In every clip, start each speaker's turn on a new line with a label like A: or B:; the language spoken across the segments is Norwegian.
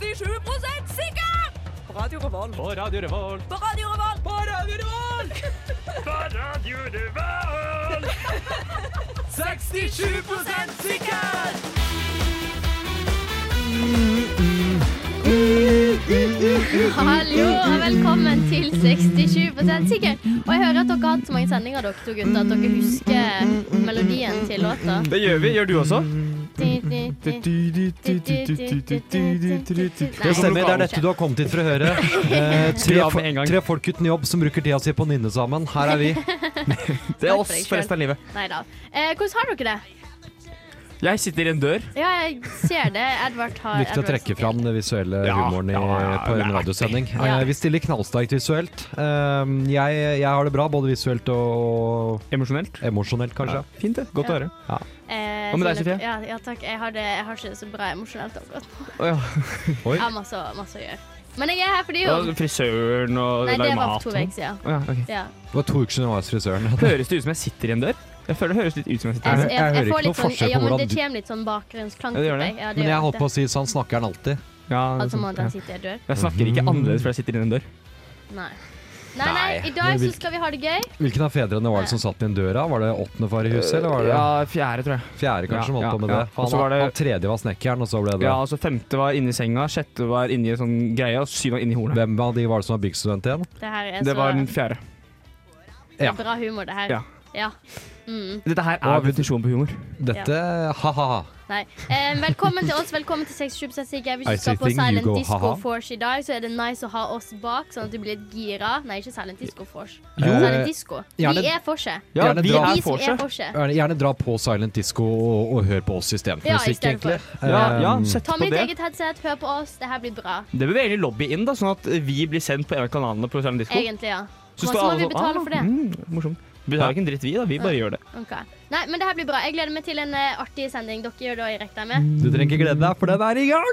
A: 67 sikker! På Radio Revolt.
B: På Radio Revolt.
A: På Radio Revolt. På Radio Revolt!
B: 67 sikker!
C: Hallo og velkommen til 67 sikker. Og jeg hører at dere har hatt så mange sendinger, dere to gutter, at dere husker melodien til låta.
B: Det gjør vi. Gjør du også?
C: Mm.
D: Det stemmer, det er
C: Nei.
D: dette du har kommet hit for å høre. Eh, tre,
B: Skru av med en
D: fo-
B: gang.
D: tre folk uten jobb som bruker tida si på å nynne sammen. Her er vi.
B: Det er
C: Takk for
B: oss
C: deg selv.
B: for resten av livet.
C: Nei da. Eh, hvordan har dere det?
B: Jeg sitter i en dør.
C: Ja, jeg ser det. Edvard har
D: Viktig å
C: Edvard
D: trekke
C: sitter.
D: fram det visuelle
B: Ja,
D: humoren i,
B: ja, ja,
D: på
B: det
D: en
B: er
D: radiosending.
C: Ja.
D: Eh, vi stiller knallsterkt visuelt. Eh, jeg, jeg har det bra, både visuelt og
B: Emosjonelt.
D: emosjonelt,
B: Ja,
D: kanskje.
B: fint, det. Godt å
C: Ja.
B: høre.
C: Eh,
B: Hva med deg,
C: så-
B: Sofie?
C: Ja, ja, takk. Jeg har, det, jeg har ikke det så bra emosjonelt akkurat nå.
B: Å, ja.
C: Jeg har masse, masse å gjøre. Men jeg er her fordi
B: Ja,
C: jo
B: Frisøren og
C: Nei, det
B: lage
C: var
B: mat.
C: for to Mm. uker siden.
B: Å, ja, ok.
C: Ja.
D: Det var to uker siden jeg var hos frisøren.
B: Høres det ut som jeg sitter i en dør? Jeg føler det høres litt ut som jeg sitter i en
D: hø-
B: dør.
C: Jeg,
D: jeg
C: jeg, jeg
D: hører ikke
C: får
D: noe
C: litt sånn
D: forskjell på
C: Ja, men
D: hvordan
C: det
D: du-
C: kommer litt sånn bakgrunnsklang
B: Ja, det
C: til
B: gjør det.
C: deg. Ja, det
D: Men jeg
C: gjør
D: holdt på å si sånn snakker han alltid.
B: Ja, det er
C: Altså må
B: sant,
C: den
B: ja.
C: sitte i en dør?
B: Jeg snakker ikke annerledes for jeg sitter i en dør.
C: Nei. Nei, nei,
D: Nei,
C: i dag
D: det vil-
C: så skal vi ha det gøy.
D: Hvilken av fedrene var det som satt i en døra? Var det åttende far i huset, eller var det
B: Ja, fjerde, tror jeg.
D: fjerde kanskje som
B: ja,
D: holdt på med
B: ja.
D: det? Han,
B: Og så var det-
D: han tredje var snekkeren, og så ble det
B: Ja, altså Femte var inni senga, sjette var inni en sånn greie, og syvende var inni hornet.
D: Hvem av de var det som var byggstudent igjen?
C: Det her er
B: Det
C: så
B: var den fjerde.
C: det er
D: ja.
C: bra humor, det her.
B: Ja.
C: Ja. Mm,
B: Dette her
D: Og-
B: er Eh, definisjonen på humor.
D: Dette ha-ha.
C: nei. Eh, velkommen til oss. Velkommen til 67 sikker. Hvis
D: I
C: du skal
D: say
C: på
D: thing, you
C: Silent
D: go,
C: Disco
D: haha.
C: Force i dag, så er det nice å ha oss bak, sånn at du blir litt gira. Nei, ikke Silent Disco Force.
D: Jo. eh,
C: Silent Disco. Vi
D: gjerne-
C: er Forse.
B: Ja,
D: Gjerne
B: vi
D: dra-
C: Vi
B: er
C: som er
B: vorset.
C: Forse.
D: Gjerne, gjerne dra på silent disco og, og hør på oss i stedet for
C: Ja, i
D: musikk,
C: stedet for.
D: egentlig.
B: Ja, ja,
D: Um,
B: sett
C: Ta
B: på
C: med ditt
B: det.
C: eget headset, hør på oss. Det her blir bra.
B: Det bør vi egentlig lobby inn, da, sånn at vi blir sendt på en av kanalene på Sørlandet Disko.
C: Egentlig, ja.
B: Så står
C: Og så må
B: alle
C: vi
B: sånn,
C: betale for det.
D: Ah.
B: Mm, morsomt. Vi betaler ikke en dritt, vi, da. Vi bare gjør det.
C: Ok. Nei, men det her blir bra. Jeg gleder meg til en eh, artig sending. Dere gjør det òg, regner jeg med.
D: Du trenger ikke glede deg, for den er i gang!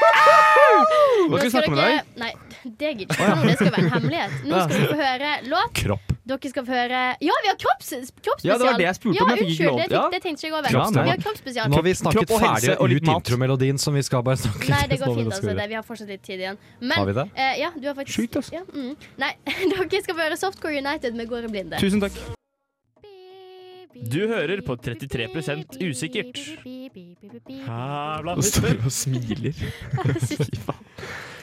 B: Hva skal vi snakke om i dag?
C: Nei, det gidder ikke. Det skal være en hemmelighet. Nå skal dere få høre låt.
D: Kropp.
C: Dere skal få høre Ja, vi har kropps, kroppsspesial!
B: Ja, det var det jeg spurte om,
C: Ja,
B: jeg fikk ikke
C: unnskyld,
B: lov.
C: det,
B: Ja.
C: fikk, det tenkte ikke jeg over.
B: Ja, nei.
C: vi har kroppsspesial.
D: Nå har vi snakket
B: Kropp og helse
D: ferdig
B: og
D: ut
B: litt mat.
D: intromelodien, som vi skal bare snakke
C: Nei, det
D: litt
C: går
D: om hva
C: fint.
D: vi skal
C: altså.
D: gjøre.
C: det, Vi har fortsatt litt tid igjen. Men,
D: Har vi det?
C: eh, ja, du har faktisk
B: Sjukt, altså.
C: Ja, mm. Nei, dere skal få høre Softcore United med Gård i blinde.
B: Tusen takk. Du hører på 33% usikkert. Hævla
D: Nå står
B: og smiler.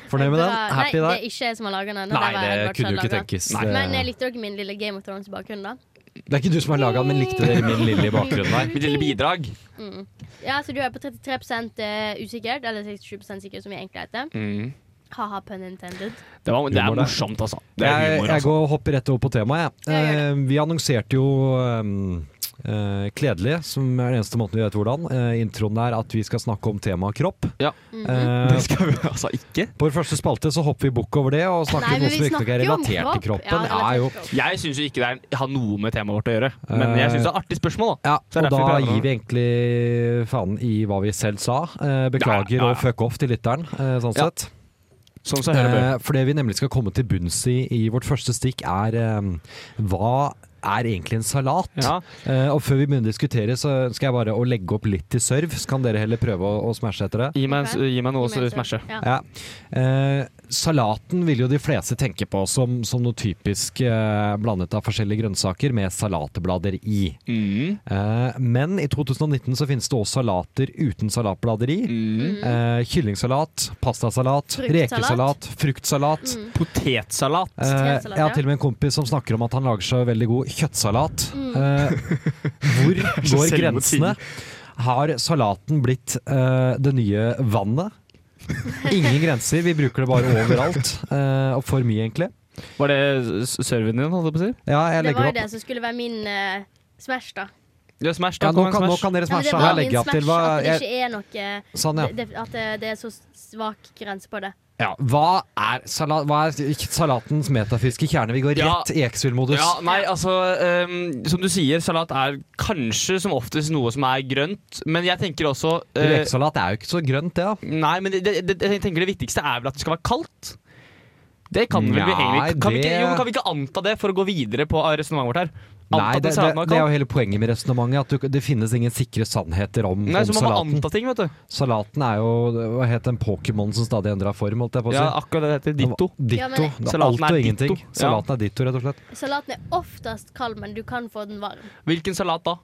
D: Fornøyd med den?
C: Bra. Nei,
D: Happy
C: det
D: der?
C: er ikke jeg som har laga den.
D: Nei,
C: var
D: det
C: Edvard
D: kunne
C: som
D: jo ikke
C: laget den.
D: tenkes.
B: Nei.
D: Det-
C: Men eh, jeg likte dere min lille Game of Thrones-bakgrunn, da?
D: Det er ikke du som har laga den, men likte dere min lille i bakgrunnen der?
B: Mitt lille bidrag.
C: Mm. Ja, så du er på 33 eh, usikkert, eller 67 sikker, som jeg egentlig heter.
D: Mm.
C: Haha, pun intended.
B: Det, var, det er
D: Humor, det.
B: morsomt, altså. Det er
D: Jeg,
B: humor,
D: jeg
B: altså.
D: går og hopper rett over på temaet. Jeg.
C: Ja,
D: Eh,
C: gjør
D: vi annonserte jo um, eh, Kledelig, som er den eneste måten vi vet hvordan. Eh, introen er at vi skal snakke om temaet kropp.
B: Ja.
C: Mhm.
D: Eh,
B: Det skal vi altså ikke.
D: på vår første spalte så hopper vi bukk over det og snakker
C: Nei,
D: om
C: men
D: noe
C: vi
D: som riktignok er
C: snakker jo om
D: relatert til
C: kropp.
D: kroppen.
C: Ja,
D: Ja, jo.
C: relatert til kropp.
B: Jeg syns jo ikke det er- har noe med temaet vårt å gjøre, men
D: Eh,
B: jeg syns det er artig spørsmål, da.
D: Ja,
B: Så det er derfor
D: og da
B: vi prøver nå.
D: gir vi egentlig faen i hva vi selv sa. Eh, beklager
B: Ja, ja, ja.
D: og fuck off til lytteren, eh, sånn
B: Ja.
D: sett.
B: Sånn som jeg hører det bør.
D: Eh, for det vi nemlig skal komme til bunns i i vårt første stikk, er eh, hva er egentlig en salat?
B: Ja.
D: Eh, og før vi begynner å diskutere, så ønsker jeg bare å legge opp litt til serv. Så kan dere heller prøve å, å smashe etter det.
B: Gi meg,
C: Ok.
B: gi meg noe
C: Gi
B: å
C: meg en
B: smashe.
C: Ja.
D: Ja. Eh, salaten vil jo de fleste tenke på som, som noe typisk eh, blandet av forskjellige grønnsaker med salatblader i.
B: Mm.
D: Eh, men i 2019 så finnes det også salater uten salatblader i.
B: mm.
D: Eh, kyllingsalat, pastasalat,
C: Fruktsalat.
D: rekesalat, fruktsalat.
B: Potetsalat.
D: Eh,
C: Potetsalat,
D: jeg har
C: ja.
D: til og med en kompis som snakker om at han lager seg veldig god kjøttsalat.
C: Mm.
D: Eh, hvor
B: Så
D: går
B: selvmotsigende.
D: grensene? Har salaten blitt eh, det nye vannet? Ingen grenser, vi bruker det bare overalt. eh, og for mye, egentlig.
B: Var det s- serven din, holdt jeg på å si?
D: Ja,
C: Det var
D: jeg legger
C: jo
D: opp.
C: det som skulle være min eh, smash, da.
B: Ja, smash, da.
D: Ja, nå,
B: kom en
D: kan, nå
B: smash.
D: kan dere
C: Ja, men det
D: smashe.
C: var
D: Her
C: min
D: legger jeg
C: smash,
D: opp til hva
C: at det
D: jeg,
C: ikke er noe eh,
D: Sånn, ja.
C: det, det, At det, det er så svak grense på det.
D: ja. Hva er, salat, hva er salatens metafysiske kjerne? Vi går
B: Ja.
D: rett i Exfil-modus.
B: Ja, nei, altså ehm, Som du sier, salat er kanskje som oftest noe som er grønt. Men jeg tenker også eh,
D: Rekesalat er jo ikke så grønt, det. da.
B: Nei, men det, det, det, jeg tenker det viktigste er vel at det skal være kaldt. Det kan vel vi
D: Nei,
B: egentlig kan vi, ikke,
D: det-
B: jo, men kan vi ikke anta det for å gå videre på eh, resonnementet vårt her? Anta
D: Nei,
B: at
D: det, det,
B: salaten var
D: det er jo
B: kald?
D: hele poenget med resonnementet. At du, det finnes ingen sikre sannheter om,
B: Nei,
D: om
B: så man må
D: salaten.
B: anta ting, vet du.
D: Salaten er jo hva het den Pokémon som stadig endra form, holdt jeg på å si.
B: Ja, akkurat det heter ditto.
C: Ja,
D: Ditto.
C: men-
D: det er
B: Salaten
D: alt
B: er
D: og ingenting.
B: ditto. Ja.
D: Salaten er ditto, rett og slett.
C: Salaten er oftest kald, men du kan få den varm.
B: Hvilken salat da?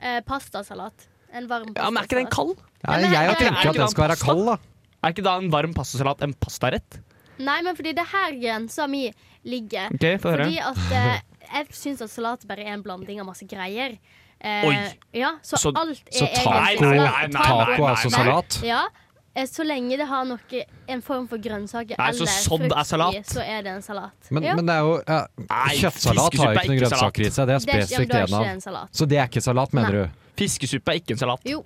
C: Eh, pastasalat. En varm
B: Ja, men Er ikke den
C: pastasalat.
B: kald?
D: Ja,
C: men er-
D: jeg
C: er-
B: er
D: tenker at
B: ikke
D: den skal
B: det
D: være kald, da.
B: Er ikke da en varm pastasalat en pastarett?
C: Nei, men fordi det er her grensa mi ligger.
B: Ok, få høre.
C: Fordi at eh, jeg syns at salat bare er en blanding av masse greier. Eh,
B: Oi.
C: Ja, så,
B: Så-
C: alt er
D: Så taco,
B: Nei,
C: egentlig
B: nei,
C: salat.
B: nei, nei,
C: Taco-
B: nei,
D: Taco er altså
B: nei.
D: salat.
C: Ja, eh, så lenge det har noe, en form for grønnsaker
B: Nei, så sodd
C: eller
B: er
C: frukt i,
B: salat.
C: så er det en salat.
D: Men,
C: ja.
D: men det er jo ja,
B: Nei,
D: Kjøttsalat
B: fiskesuppe
D: har jo ikke
B: er
D: noen
B: ikke
D: grønnsaker i
B: salat.
D: seg. Det
C: det
D: er
C: er, ikke- ja, men
D: spesifikt
C: da er ikke
D: en
C: det
D: av.
C: en salat.
D: Så det er ikke salat, mener du?
B: Fiskesuppe er ikke en salat.
C: Jo.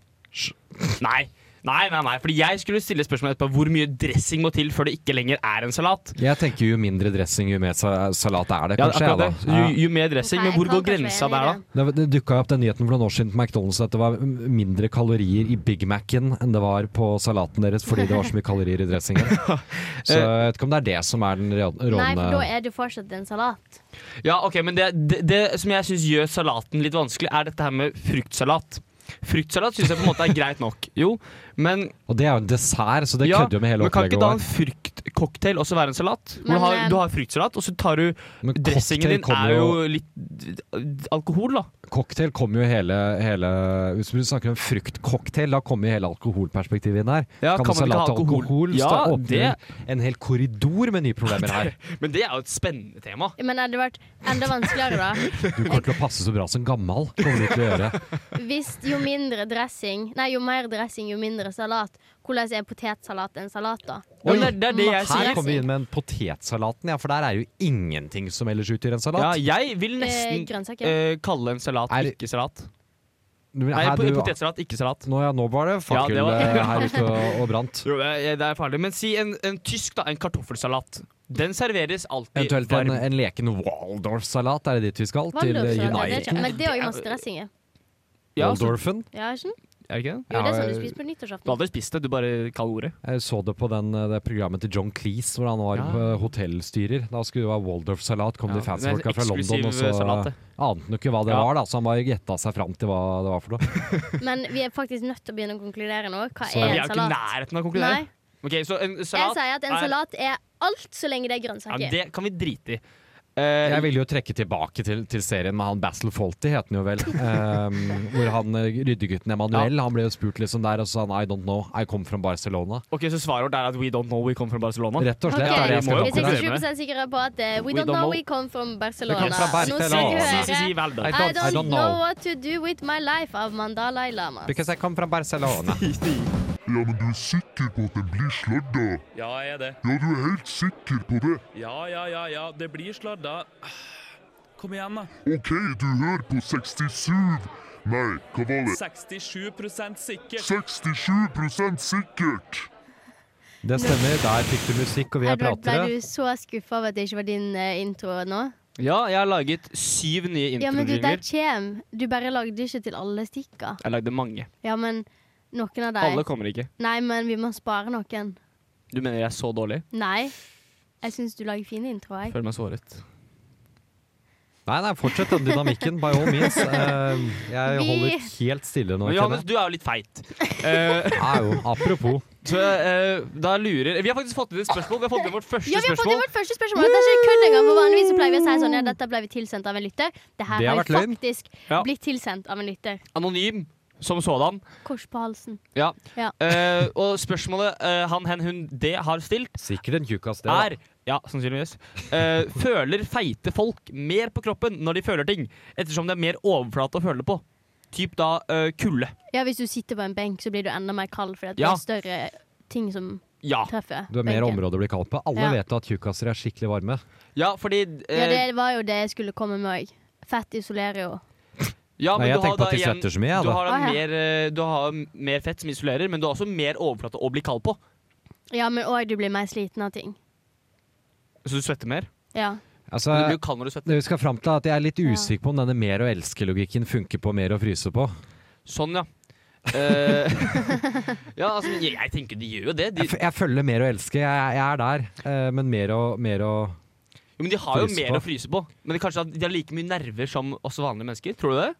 B: Nei. Nei, nei, nei, fordi jeg skulle stille spørsmål etterpå hvor mye dressing må til før det ikke lenger er en salat.
D: Jeg tenker jo mindre dressing, jo mer sa- salat er det,
B: Ja,
D: kanskje.
B: akkurat det.
D: jeg,
B: Jo,
D: da. Ja.
B: jo mer dressing,
C: Ok,
B: men
C: jeg
B: hvor
C: kan
B: går
C: kanskje være
B: grensa
C: enig i
B: der, da?
C: det.
D: Det, det dukka opp den nyheten for noen år siden på McDonald's at det var m- mindre kalorier i Big Mac-en enn det var på salaten deres fordi det var så mye kalorier i dressingen. Så jeg vet ikke om det er det som er den real-
C: Nei, for da
D: rådende
C: er det fortsatt en salat.
B: Ja, ok, men det, det, det som jeg syns gjør salaten litt vanskelig, er dette her med fruktsalat. Fruktsalat syns jeg på en måte er greit nok. Jo, men,
D: Og det er jo en dessert, så det
B: ja,
D: kødder jo med hele
B: men kan ikke
D: opplegget
B: da
D: vårt.
B: en fruktcocktail også være en salat? Hvor
C: Men,
B: du, har,
C: eh,
B: du har fruktsalat, og så tar du
D: Men
B: Dressingen
D: cocktail
B: din
D: kommer
B: er jo litt d- alkohol, da.
D: Cocktail kommer jo hele, hele Hvis du snakker om fruktcocktail, da kommer jo hele alkoholperspektivet inn her.
B: Ja,
D: kan,
B: kan man ikke
D: salat
B: ha
D: og alkohol
B: alkohol? Ja,
D: stå-
B: det-
D: åpne en hel korridor med nye problemer her?
B: Men det er jo et spennende tema.
C: Men hadde det vært enda vanskeligere, da?
D: Du kommer til å passe så bra som gammal. Kommer du til å gjøre
C: Hvis jo mindre dressing Nei, jo mer dressing, jo mindre salat. Hvordan er potetsalat en salat, da?
B: Ja, men det, det er det jeg
C: Masse.
B: sier.
D: Her kommer vi inn med en potetsalaten, ja, for der er jo ingenting som ellers utgjør en
B: Ja,
D: salat.
B: jeg vil
C: Eh,
B: nesten
C: grønnsaker.
B: eh, kalle en salat
D: Er-
B: ikke salat.
D: Du, men
B: Nei,
D: her,
B: po-
D: du,
B: potetsalat ikke salat.
D: nå, ja, nå var det
B: Ja,
D: fakkel
B: det var-
D: eh, her ute og, og brant.
B: Jo, det er, det er farlig. Men si en, en tysk, da. En kartoffelsalat. Den serveres alltid
D: Eventuelt en,
B: varm.
D: en leken Waldorf-salat, er det dit vi skal? Til
C: Waldorf, salat,
D: eh,
C: ja, det er
D: Uniten?
C: ikke- Men det er jo masse dressing i.
B: Ja, altså,
D: Waldorfen?
C: Ja, ikke sant?
B: er det ikke det?
C: Jo, det er sånn
D: Ja,
C: du spiser på
B: Du har
C: nyttårsaften.
B: aldri spist det, du bare kaller ordet.
D: Jeg så det på den, eh, det programmet til John Cleese, hvor han var
B: Ja.
D: eh, hotellstyrer. Da skulle det være Waldorf-salat, kom
B: Ja,
D: de fancy
B: det er en
D: folka fra
B: eksklusiv
D: London, og så
B: salat, det.
D: ante han jo ikke hva det
B: Ja.
D: var, da, så han bare gjetta seg fram til hva det var for noe.
C: Men vi er faktisk nødt til å begynne å konkludere nå. Hva
D: Så-
B: Vi
C: er
B: er jo
C: en
B: ikke i
C: salat?
B: nærheten av å
C: Nei,
B: konkludere. Ok, så en
C: jeg
B: salat
C: sier at en
B: er-
C: salat er alt så lenge det er
B: ja,
C: grønnsaker.
B: Det kan vi drite i. Eh,
D: Jeg ville jo trekke tilbake til, til serien med han Basil Fawlty, het han jo vel. ehm, hvor han eh, ryddegutten Emanuel Han ble jo spurt liksom der, og så sa han I don't know, I come from Barcelona.
B: ok, Så svaret vårt er at we don't know we come from Barcelona?
D: Rett og slett.
C: Ok,
B: vi
D: er det
B: må
D: jeg skal
B: jo
D: komme
B: konkludere.
D: til.
C: Jeg er 67 sikre på at eh, We don't know we come from Barcelona.
D: Vi kom fra
C: Nå
D: Barcelona.
C: skal du
B: Si, si, si,
C: høre
B: vel, da.
D: I
C: I
D: don't- I don't
C: don't
D: know.
C: know what to do with my life av Mandalai Lama.
D: Because I come from Barcelona.
E: Ja, men du er sikker på at den blir sladda?
F: Ja, jeg er det.
E: Ja, du er helt sikker på det?
F: Ja, ja, ja, ja. Det blir sladda. Kom igjen, da.
E: OK, du hører på 67 Nei, hva var det?
F: 67 sikkert.
E: 67 sikkert!
D: Det stemmer. Der fikk du musikk, og vi er
C: Edvard, ble
D: pratere.
C: du så skuffa over at det ikke var din eh, intro nå?
B: Ja, jeg har laget syv nye
C: Ja, men du,
B: introjingler.
C: der kjem. Du bare lagde ikke til alle stikka.
B: Jeg lagde mange.
C: Ja, men noen av
B: Alle
C: dem
B: kommer ikke.
C: Nei, men vi må spare noen.
B: Du mener jeg er så dårlig?
C: Nei. Jeg syns du lager fine introer. jeg.
B: Føler meg såret.
D: Nei, nei, fortsett den dynamikken, by all means. Ehm, jeg
C: Vi-
D: holder helt stille nå.
B: Men Johannes,
D: Kenneth.
B: du er jo litt feit. Eh,
D: Ja, jo, apropos.
B: så eh, da lurer Vi har faktisk fått inn et spørsmål. Vi har fått inn vårt første
C: Ja, vi har fått inn
B: spørsmål.
C: vårt første spørsmål. Det er ikke kødd engang, for Vanligvis så pleier vi å si sånn ja, dette ble vi tilsendt av en lytter. Det her
D: Det har
C: har
D: vært løgn.
C: faktisk
B: Ja.
C: blitt tilsendt av en lytter.
B: Anonym som sådan.
C: Kors på halsen.
B: Ja.
C: Ja.
B: Eh, og spørsmålet eh, han, hen, hun, det har stilt,
D: Sikkert en tjukkas, det. da.
B: er ja, sannsynligvis. eh, føler feite folk mer på kroppen når de føler ting, ettersom det er mer overflate å føle på? Typ da eh, kulde.
C: Ja, hvis du sitter på en benk, så blir du enda mer kald fordi at
B: Ja.
C: det er større ting som
B: Ja.
C: treffer.
D: Du er mer
C: benken.
D: området å bli kalt på. Alle
C: Ja.
D: vet at tjukkaser er skikkelig varme.
B: ja, fordi eh,
C: Ja, det var jo det jeg skulle komme med òg. Fett isolerer jo.
B: Ja,
D: Nei,
B: men
D: jeg
B: du har
D: tenker på
B: da
D: at de
B: igjen-
D: svetter så mye, jeg,
B: Du
D: da.
B: har, da
C: Ah, ja.
B: mer, eh, du har mer fett som isolerer, men du har også mer overflate å bli kald på.
C: Ja, men òg du blir mer sliten av ting.
B: Så du svetter mer.
C: Ja.
D: Altså,
B: Men du blir jo kald når du svetter.
D: Det vi skal fram til er at Jeg er litt
C: Ja.
D: usikker på om denne mer å elske-logikken funker på mer å fryse på.
B: Sånn, ja. Eh, ja, altså, jeg, jeg tenker de gjør jo det. De,
D: Jeg, f jeg følger mer å elske. Jeg, jeg er der. Eh, men mer å, mer å
B: jo, men de har jo
D: fryse
B: mer
D: på.
B: å fryse på. Men det, kanskje at de har like mye nerver som oss vanlige mennesker? Tror du det?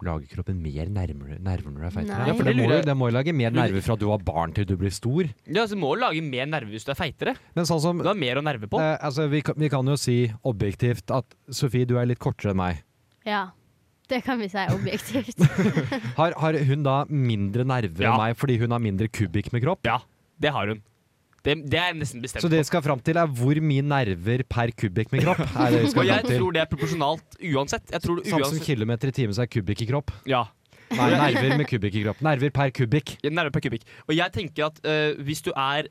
D: lage kroppen mer nærmere, nærmere når du er feit.
C: Nei.
D: Ja, for det må,
B: Lurer-
D: jo- det må jo lage mer nerver fra du var barn til du blir stor.
B: Ja, altså, Du må jo lage mer nerver hvis du er feitere.
D: Men sånn som
B: Du har mer å nerve på.
D: eh, altså, vi, kan- vi kan jo si objektivt at Sofie, du er litt kortere enn meg.
C: Ja. Det kan vi si objektivt.
D: Har, har hun da mindre nerver
B: Ja.
D: enn meg fordi hun har mindre kubikk med kropp?
B: Ja, det har hun. Det, det er jeg nesten bestemt
D: Så det vi skal fram til, er hvor mye nerver per kubikk med kropp. Er det vi
B: på. Og
D: skal
B: jeg
D: fram til.
B: tror det er proporsjonalt uansett. Jeg tror det
D: Samt som
B: uansett
D: kilometer i timen, så er kubikk i kropp.
B: Ja.
D: Nei, nerver med kubikk i kropp. Nerver per kubikk.
B: Nerver per kubikk. Og jeg tenker at eh, hvis du er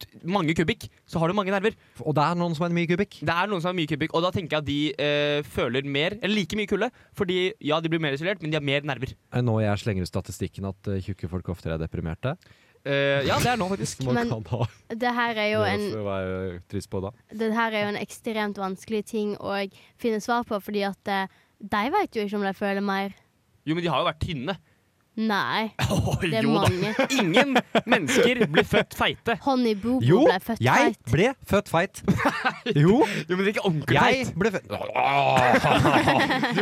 B: t- mange kubikk, så har du mange nerver.
D: Og det er noen som er mye kubikk.
B: Det er noen som har mye kubikk, og da tenker jeg at de eh, føler mer, eller like mye kulde. Fordi ja, de blir mer isolert, men de har mer nerver.
D: Er det Eh, nå jeg slenger ut statistikken at eh, tjukke folk oftere er deprimerte?
B: Eh, ja, det er nå, faktisk.
D: Man
C: Men-
D: kan ha
C: Det her er jo
D: det
C: en
D: for å være trist på da.
C: det her er jo en ekstremt vanskelig ting å finne svar på, fordi at eh, de vet jo ikke om de føler mer.
B: Jo, men de har jo vært tynne.
C: Nei,
D: Eh,
B: Oh,
C: det er
B: jo da.
C: mange.
B: Ingen mennesker blir født feite.
C: Honey Boo
D: Jo,
C: Boo ble født
D: jeg
C: feit.
D: ble født feit. Jo,
B: Jo, men det er ikke ordentlig
D: jeg
B: feit.
D: ble født
B: Du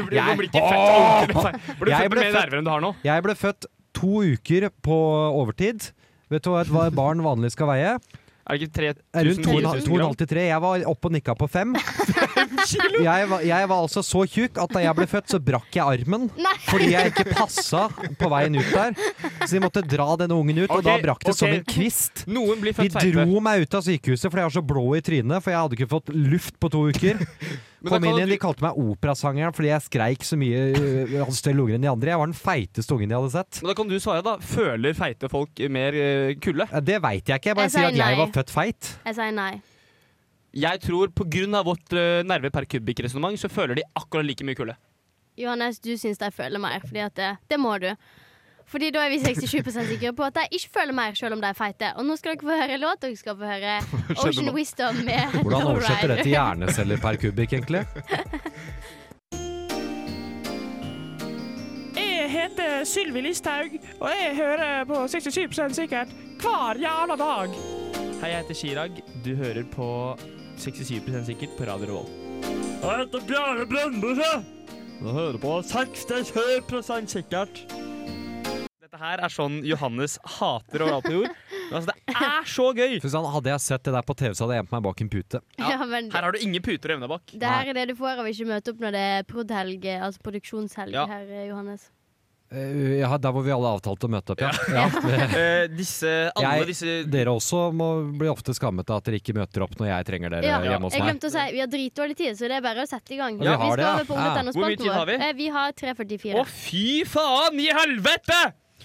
B: blir,
D: Jeg-
B: du blir ikke født ordentlig feit. Blir du
D: Jeg
B: født med
D: ble
B: mer
D: født-
B: nerver enn du har nå?
D: Jeg ble født to uker på overtid. Vet du hva et va- barn vanlig skal veie?
B: Er det ikke tre
D: Rundt
B: 1000 gram?
D: 2,5-3. Jeg var oppe og nikka på fem. Jeg var, jeg var altså så tjukk at da jeg ble født, så brakk jeg armen.
C: Nei.
D: Fordi jeg ikke passa på veien ut der. Så de måtte dra denne ungen ut, og da
B: Ok,
D: brakk det som
B: ok.
D: en kvist.
B: Noen blir
D: De
B: født feite.
D: dro meg ut av sykehuset fordi jeg var så blå i trynet, for jeg hadde ikke fått luft på to uker.
B: Men da
D: Kom
B: kan
D: inn igjen,
B: du-
D: De kalte meg operasangeren fordi jeg skreik så mye. øh, Jeg hadde større lunger enn de andre. Jeg var den feiteste ungen de hadde sett.
B: Men da kan du svare, da. Føler feite folk mer eh, kulde?
D: Eh, Det veit jeg ikke. Jeg bare
C: Jeg
D: sier
C: sier
D: at jeg
C: nei.
D: var født feit.
C: Jeg sier nei.
B: Jeg tror på grunn av vårt eh, nerve per kubikk-resonnement, så føler de akkurat like mye kulde.
C: Johannes, du syns de føler mer, fordi at det, det må du. Fordi da er vi 67 sikre på at de ikke føler mer, selv om de er feite. Og nå skal dere få høre låt. Dere skal få høre Ocean Wisdom med
D: Hvordan oversetter det
C: Lowrider.
D: til hjerneceller per kubikk, egentlig?
G: Jeg heter Sylvi Listhaug, og jeg hører på 67 sikkert hver jævla dag.
B: Hei, jeg heter Chirag. Du hører på 67 sikkert på Radio Revolt.
H: Jeg heter Bjarne Brøndbøse. Du hører på 67 sikkert.
B: Dette her er sånn Johannes hater overalt på jord. Men altså, det er så gøy!
D: For sånn, hadde jeg sett det der på TV, så hadde jeg gjemt meg bak en pute.
C: Ja, men
B: Her har du ingen puter å evne bak.
C: det her er det du får av å ikke møte opp når det er prod.helg, altså produksjonshelg
B: Ja.
C: her, Johannes.
D: Eh, ja, der hvor vi alle avtalte å møte opp, ja. ja.
B: Eh, disse, alle
D: Jeg-
B: disse
D: Dere også må bli ofte skammet av at dere ikke møter opp når jeg trenger dere
C: Ja,
D: hjemme hos
C: jeg
D: meg.
C: glemte å si Vi har dritdårlig tid, så det er bare å sette i gang.
D: Ja,
C: vi
D: vi har
C: skal
D: det, ja.
C: over på
D: Ja.
C: ungdom.no.
B: Hvor mye tid har vi?
C: Eh, Vi har 3.44.
B: Å, fy faen i helvete!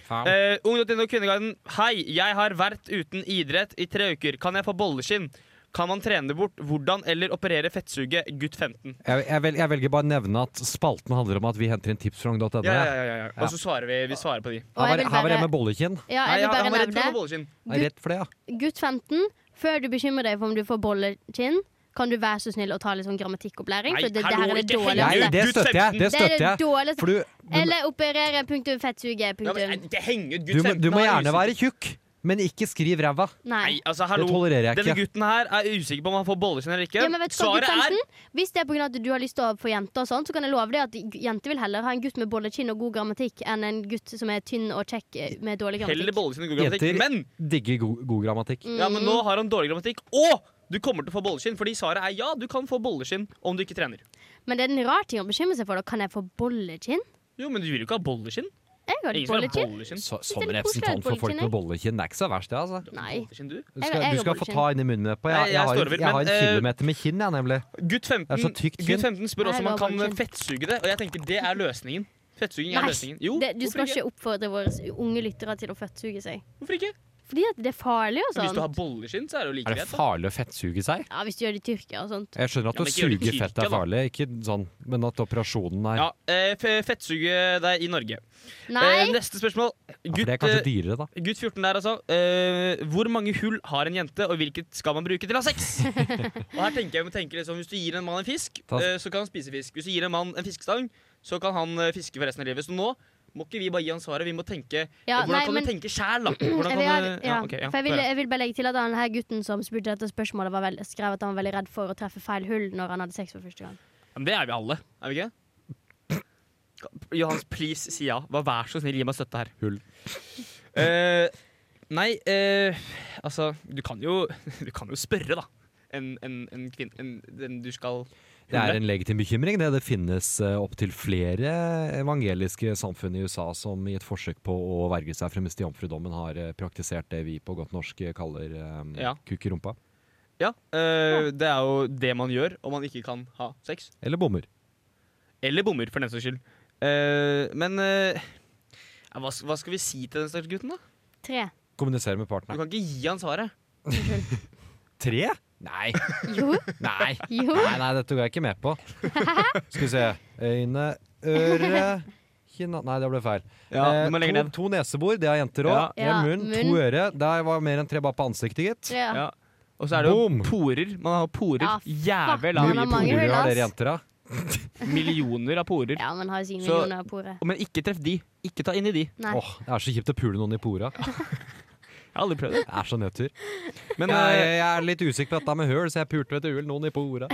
D: Faen.
B: Eh, Ung.no Kvinneguiden. Hei, jeg har vært uten idrett i tre uker. Kan jeg få bolleskinn? Kan man trene det bort? Hvordan eller operere fettsuget? Gutt 15.
D: Jeg, jeg, vel, jeg velger bare å nevne at spalten handler om at vi henter inn tips fra ung.no.
B: Ja, ja, ja, ja, ja. Og så svarer vi, vi svarer på de.
C: Og
D: Her,
C: jeg
D: var-
C: vil
D: her var
C: bare-
D: jeg med bollekinn.
B: Nei,
C: Ja, jeg vil
B: han-
C: bare
B: han var redd for å få
C: nevne
B: bolleskinn.
D: Jeg er Rett for det, ja.
C: Gutt 15, før du bekymrer deg for om du får bollekinn, kan du være så snill å ta litt sånn grammatikkopplæring,
B: Nei,
C: for det, det
B: hallo,
C: her er det
B: ikke altså.
D: Nei,
B: henge
C: dårligste.
B: ut.
D: det
B: Gutt
D: støtter jeg. Det
C: Det er
D: støtter
C: det
D: jeg.
C: dårligste.
D: For du, du,
C: Eller operere punktum fettsuge
B: Ja, men,
C: punktum.
B: eh, ikke henge ut
D: du,
B: gutt
D: må,
B: 15.
D: du må
B: han er
D: gjerne være
B: usikker.
D: tjukk, men ikke skriv ræva.
C: Nei.
B: Nei, altså,
D: Det
B: hallo.
D: tolererer jeg
B: Denne
D: ikke.
B: gutten her er usikker på om han får bolleskinn eller ikke.
C: Ja, men vet du hva, gutt
B: Svaret er
C: 15, Hvis det er på grunn av at du har lyst til å få jenter, og sånt, så kan jeg love deg at gu- jenter vil heller ha en gutt med bollekinn og god grammatikk enn en gutt som er tynn og kjekk eh, med dårlig
B: heller
C: grammatikk.
B: bolleskinn enn god grammatikk.
D: Jenter-
B: Men,
D: Digger god, god grammatikk.
C: Mm.
B: ja, men nå har han dårlig grammatikk, og du kommer til å få bolleskinn. Fordi svaret er ja, du kan få bolleskinn om du ikke trener.
C: Men det er en rar ting å bekymre seg for. Da. Kan jeg få bollekinn?
B: Jo, men du vil jo ikke ha bolleskinn.
C: Jeg har
B: Ingen
C: ikke
B: som vil ha
C: bollekinn.
B: bolleskinn.
D: Så,
C: er
D: som
C: litt
D: representant for
C: koselig,
D: folk med bollekinn, det er ikke så verst, det, altså.
C: Nei.
B: Bolleskinn, du.
D: Du
C: Jeg-
D: skal,
C: jeg har
D: du skal få
C: bollekinn.
D: ta inn i munnen med på. Jeg,
B: Nei, jeg
D: jeg,
B: står
D: har,
B: over,
D: jeg har
B: men, eh,
D: en kilometer med kinn, jeg, nemlig.
B: Gutt 15,
D: Det er så tykt
B: gutt
D: skinn.
B: 15 spør også om
C: Nei,
B: han kan
C: det var bare
B: fettsuge det, og jeg tenker det er løsningen. Fettsuging er
C: Nei,
B: løsningen. Jo,
C: det, du
B: hvorfor
C: skal
B: ikke?
C: ikke oppfordre våre unge lyttere til å fettsuge seg.
B: Hvorfor ikke?
C: Fordi at det er farlig og
B: Men Hvis du har
C: sånn.
B: bolleskinn, så er det jo like
D: Er det
B: greit. da.
D: farlig å fettsuge seg?
C: Ja, hvis du gjør det i Tyrkia og sånt.
D: Jeg skjønner at
B: Ja, men
D: å
B: ikke gjør det
D: suge
B: i
D: fett
B: kirka, da.
D: er farlig, ikke sånn, men at operasjonen er
B: Ja,
D: ja,
B: eh, fe- Fettsuge deg i Norge. Eh,
C: Nei!
B: neste spørsmål.
D: for
B: Gutt,
D: Det er
B: eh,
D: kanskje dyrere, da.
B: gutt 14 der, altså. Eh, hvor mange hull har en jente, og hvilket skal man bruke til å ha sex? og her tenker jeg vi tenker liksom, Hvis du gir en mann en fisk,
D: Ta-
B: eh, så kan han spise fisk. Hvis du gir en mann en fiskestang, så kan han eh, fiske for resten av livet. Så nå Må ikke vi bare gi han svaret? Vi må tenke
C: Ja,
B: Hvordan
C: nei,
B: kan
C: men-
B: du tenke sjæl, da? Hvordan kan
C: Jeg vil,
B: du
C: gjerne- ja,
B: ok, ja,
C: for jeg,
B: få
C: vil,
B: høre.
C: jeg vil bare legge til at han her gutten som spurte dette spørsmålet, var vel- skrev at han var veldig redd for å treffe feil hull når han hadde sex for første gang.
F: Men det er vi alle.
B: Er vi ikke? Kan- Johans, please, si ja. Bare vær så snill, gi meg støtte her.
D: Hull.
B: Eh, nei, eh, altså Du kan jo, du kan jo spørre, da. En, en, en kvinne en, den du skal
D: Det er en legitim bekymring. Det, det finnes eh, opptil flere evangeliske samfunn i USA som i et forsøk på å verge seg fra jomfrudommen har eh, praktisert det vi på godt norsk eh, kaller um,
B: Ja.
D: kuk i rumpa.
B: Ja, eh, Det er jo det man gjør om man ikke kan ha sex.
D: Eller bommer.
B: Eller bommer, for den saks skyld. Eh, men eh, ja, hva, hva skal vi si til den stakkars gutten, da?
C: Tre.
D: Kommunisere med
B: Du
D: partneren.
B: kan ikke gi han svaret.
D: Tre? Nei.
C: Jo,
D: Nei.
C: jo.
D: Nei, nei, dette går jeg ikke med på. Skal vi se. Øyne, øre Kinna. Nei, det ble feil. Eh,
B: Ja, du må legge
D: to,
B: ned.
D: to nesebor, det har jenter òg.
B: Ja.
D: En
C: Ja,
D: munn,
C: munn.
D: to øre. Der var mer enn tre bare på ansiktet, gitt.
C: Tre.
B: Ja. Og så er det jo
D: Boom.
B: porer. Man har porer.
C: Ja,
B: Jævel
C: man
B: av mye
C: har
B: porer.
C: mange
D: Hvor
C: hull,
D: har
C: ass.
D: dere jenter, da?
B: Millioner av porer.
C: Ja, man har jo sikkert
B: Så-
C: millioner av porer.
B: Men ikke treff de. Ikke ta inn i de.
C: Nei.
D: Åh, det er så kjipt å pule noen i pora. Det
B: Jeg har aldri prøvd det.
D: er så nedtur.
B: Men
D: jeg,
B: eh,
D: jeg er litt usikker på dette med høl, så jeg pulte ved et uhell noen i pora.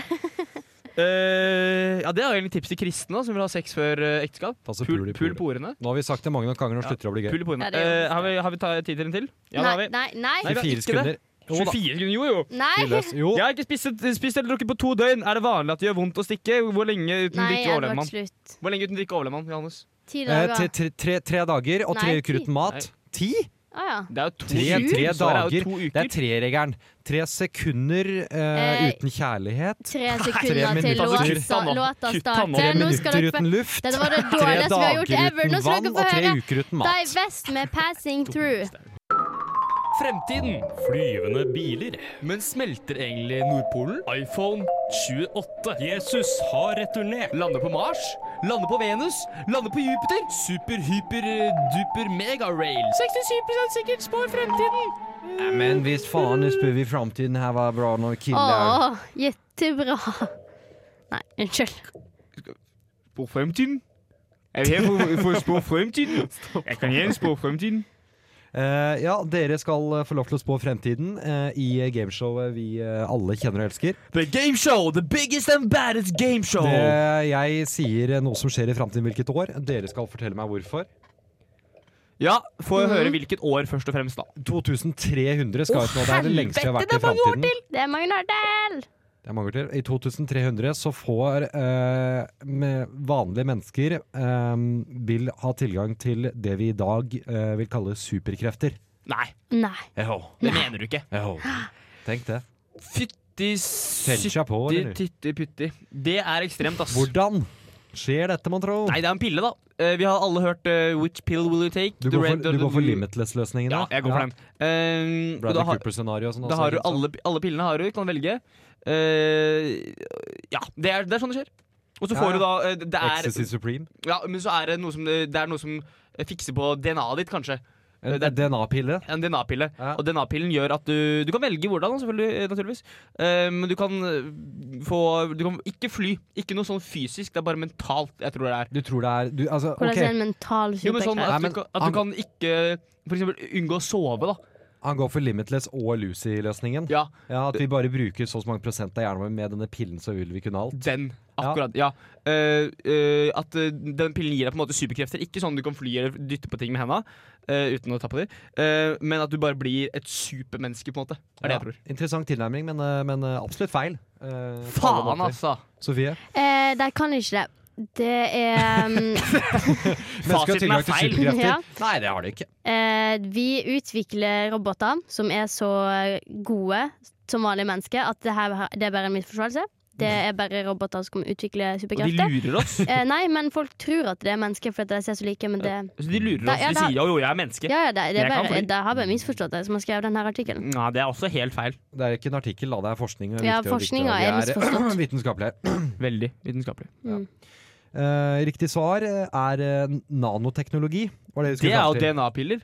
B: eh, Ja, det er jo egentlig tips til kristne da, som vil ha sex før eh, ekteskap.
D: Altså,
B: Pul,
D: pul i
B: pul
D: porer.
B: porene.
D: Nå har vi sagt det mange nok ganger, nå
B: Ja,
D: slutter det å bli gøy.
B: Pul i porene.
C: Ja, det gjør
B: Eh, har vi, har vi ta tid til en til? Ja, det har
C: Nei,
B: vi.
C: nei, nei.
B: Nei, vi har
D: 24
B: ikke det.
D: sekunder. Jo da.
B: 24 sekunder, jo jo!
C: Nei,
D: Tilløs. Jo,
B: Jeg har ikke spist, spist eller drukket på to døgn. Er det vanlig at det gjør vondt å stikke? Hvor lenge uten
C: nei
B: drikke
C: ja, det
B: overlever
C: var
B: man?
C: slutt.
B: Hvor lenge uten drikke overlever man, Johannes?
C: Ti
D: eh,
C: dager.
D: tre, tre, tre, tre dager og tre
C: Nei,
D: uker
C: ti.
D: uten mat. Ti?
C: Å ja.
B: Det er jo to
D: Tre,
B: uker.
D: tre
B: Så er det jo
D: dager.
B: to
D: Det er
B: uker.
D: treregelen. Tre sekunder eh,
C: Eh,
D: uten kjærlighet.
C: Tre sekunder til
D: minutter. Altså,
C: låta
B: kutt han nå.
C: låta
B: Kutt han nå.
D: Tre
C: starter. Nå skal
D: minutter
C: dere få
D: uten luft.
C: Dette var det
D: Tre
C: dårligste vi har
D: dager
C: gjort ever. Nå
D: uten
C: skal
D: vann
C: dere få
D: og tre
C: høre
D: uker uten
C: Dei
D: mat.
C: Vest med 'Passing Through'.
B: Fremtiden.
F: Flyvende biler.
B: Men smelter egentlig Nordpolen?
F: iPhone 28. Jesus har returnert.
B: Lande på Mars? Lande på Venus? Lande på Jupiter? eh, Super-hyper-duper-mega-rail?
G: 67 sikkert spår fremtiden.
D: Men hvis faen, nå spør vi framtiden her var bra når
C: Å, jettebra. Nei, unnskyld.
B: Spå fremtiden? Er vi her for, for å spå fremtiden? Jeg kan gjerne spå fremtiden.
D: Eh, ja, dere skal eh, få lov til å spå fremtiden eh, i gameshowet vi eh, alle kjenner og elsker.
B: The game show! The biggest and baddest game show!
D: Det, jeg sier eh, noe som skjer i fremtiden hvilket år. Dere skal fortelle meg hvorfor.
B: Ja, får jeg høre hvilket år først og fremst, da.
D: 2300 skal ut nå. Det er det lengste jeg har vært i fremtiden.
C: Det er mange år til!
D: Det er mange år til. I 2300 så får eh, med vanlige mennesker eh, vil ha tilgang til det vi i dag eh, vil kalle superkrefter.
B: Nei,
C: Nei.
B: det mener du ikke.
D: Tenk det.
B: Fytti
D: Telt
B: sytti
D: seg på, eller?
B: titti putti. Det er ekstremt, ass.
D: Hvordan skjer dette, mon tro?
B: Nei, det er en pille, da. Eh, vi har alle hørt eh, 'Which pill will you take?'
D: Du
B: The
D: går
B: red or
D: for, du
B: the
D: går for
B: blue.
D: Limitless-løsningen?
B: Ja,
D: da?
B: jeg går for den. Eh, og da
D: Bradley
B: har-
D: Cooper-scenario og sånn.
B: Da
D: også,
B: har du
D: ikke sant?
B: alle, alle pillene har du, kan velge. Eh, ja, det er, det er sånn det skjer. Og så
D: Ja,
B: får
D: ja.
B: du da eh, Det er,
D: Ecstasy Supreme.
B: ja, men så er det noe som, eh, det er noe som fikser på DNA-et ditt, kanskje.
D: En
B: Det-
D: DNA-pille.
B: En DNA-pille.
D: Ja.
B: Og DNA-pillen gjør at du Du kan velge hvordan, selvfølgelig, eh, naturligvis. Eh, men du kan eh, få Du kan ikke fly. Ikke noe sånn fysisk, det er bare mentalt, jeg tror det er.
D: Du tror det er du, altså,
C: Hvordan
D: ok,
C: er en mental
B: Jo, men sånn
C: superkraft?
D: Nei,
B: at,
D: men
B: du, kan- at
D: han-
B: du kan ikke For eksempel unngå å sove, da.
D: Han går for Limitless og Lucy-løsningen.
B: Ja,
D: Ja, At vi bare bruker så og så mange prosent av hjernen vår med denne pillen, så vil vi kunne alt.
B: Den, akkurat. Ja. Eh, eh, at eh, den pillen gir deg på en måte superkrefter. Ikke sånn du kan fly eller dytte på ting med henda eh, uten å ta på dem, men at du bare blir et supermenneske, på en måte. Er det jeg tror.
D: Ja, interessant tilnærming, men, eh, men eh, absolutt feil. eh, på alle
B: Faen,
D: måter.
B: altså!
D: Sofie?
C: Eh, de kan ikke det. Det er um,
D: Mennesker har
B: Fasiten er
D: tilgang til
B: feil.
D: superkrefter.
C: Ja.
D: Nei, det har de ikke.
C: eh, Vi utvikler roboter som er så gode som vanlige mennesker at det, her, det er bare en misforståelse. Det er bare roboter som kan utvikle
B: Mm. Og de
C: superkrefter.
B: lurer oss.
C: Eh, nei, men folk tror at det er mennesker fordi de ser så like, men det
B: Så de lurer
C: Da-
B: oss.
C: ja,
B: De
C: da-
B: sier jo, jo, jeg er menneske.
C: Ja, ja, det, det,
B: Jeg
C: er
B: kan
C: bare,
B: fly.
C: det har bare misforstått det som har skrevet denne artikkelen.
B: Nei, det er også helt feil.
D: Det er ikke en artikkel, da. Det er forskning. og
C: Ja,
D: viktig og viktig, og
C: forskninga
D: vi
C: er misforstått.
D: vitenskapelig her.
B: Veldig vitenskapelig.
D: Eh, riktig svar eh, er eh, nanoteknologi. var vi skulle
B: Det er
D: fram
B: jo
D: til.
B: DNA-piller.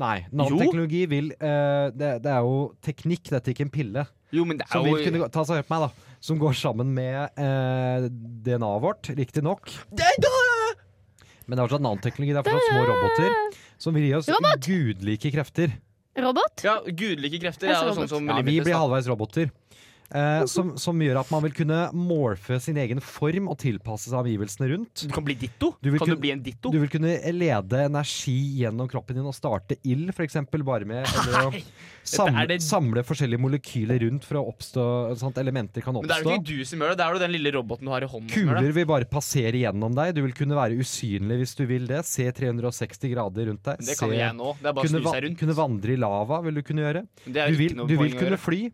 D: Nei. Nanoteknologi vil eh, det, det er jo teknikk, dette er ikke en pille.
B: Jo, men det
D: Som
B: er
D: vil kunne
B: jo
D: gå, ta seg hjelp meg, da. Som går sammen med eh, DNA-et vårt, riktignok. Men det er fortsatt nanoteknologi. Det er fortsatt små roboter som vil gi oss
C: Robot!
D: gudelike krefter.
C: Robot?
B: Ja, Gudlike krefter
C: Jeg
B: er
C: så
B: jo sånn
C: robot.
B: som
D: Ja, vi
B: Limitless,
D: blir
B: da.
D: halvveis roboter. Eh, som, som gjør at man vil kunne morfe sin egen form og tilpasse seg omgivelsene rundt.
B: Du kan bli ditto.
D: Du vil
B: kan du
D: kunne-
B: bli en ditto?
D: Du vil kunne lede energi gjennom kroppen din og starte ild, f.eks. bare med eller å
B: Dette er
D: samle,
B: det-
D: samle forskjellige molekyler rundt for å oppstå sant, Elementer kan
B: Men det er jo
D: oppstå.
B: ikke du som gjør det, det er jo den lille roboten du har i hånden. som gjør det.
D: Kuler vil bare passere gjennom deg. Du vil kunne være usynlig hvis du vil det. Se 360 grader rundt deg.
B: Men Det kan
D: Se-
B: jo jeg nå. Det er bare å
D: kunne,
B: snu
D: va
B: seg rundt.
D: kunne vandre i lava vil du kunne gjøre.
B: Men Det er
D: Du
B: jo
D: vil,
B: ikke noe
D: du
B: poeng
D: vil
B: å
D: kunne
B: gjøre.
D: fly.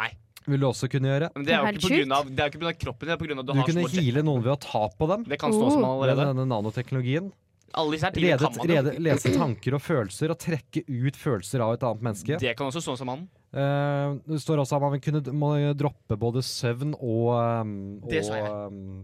B: Nei.
D: Vil du også kunne gjøre.
B: Men det er jo
C: Helt
B: ikke på grunn av, det er jo ikke på grunn av kroppen, det er på grunn av at
D: Du,
B: du, har
D: kunne
B: små jet.
D: heale noen ved å ta på dem.
B: Det kan stå som
D: Med
B: allerede.
D: denne nanoteknologien.
B: Alle disse her tingene
D: Lede,
B: kan man
D: lede,
B: jo.
D: lese tanker og følelser og trekke ut følelser av et annet menneske.
B: Det kan også stå som mannen.
D: Eh, det står også at man vil kunne d- må droppe både søvn og, um,
B: Det sa jeg.
D: og, um,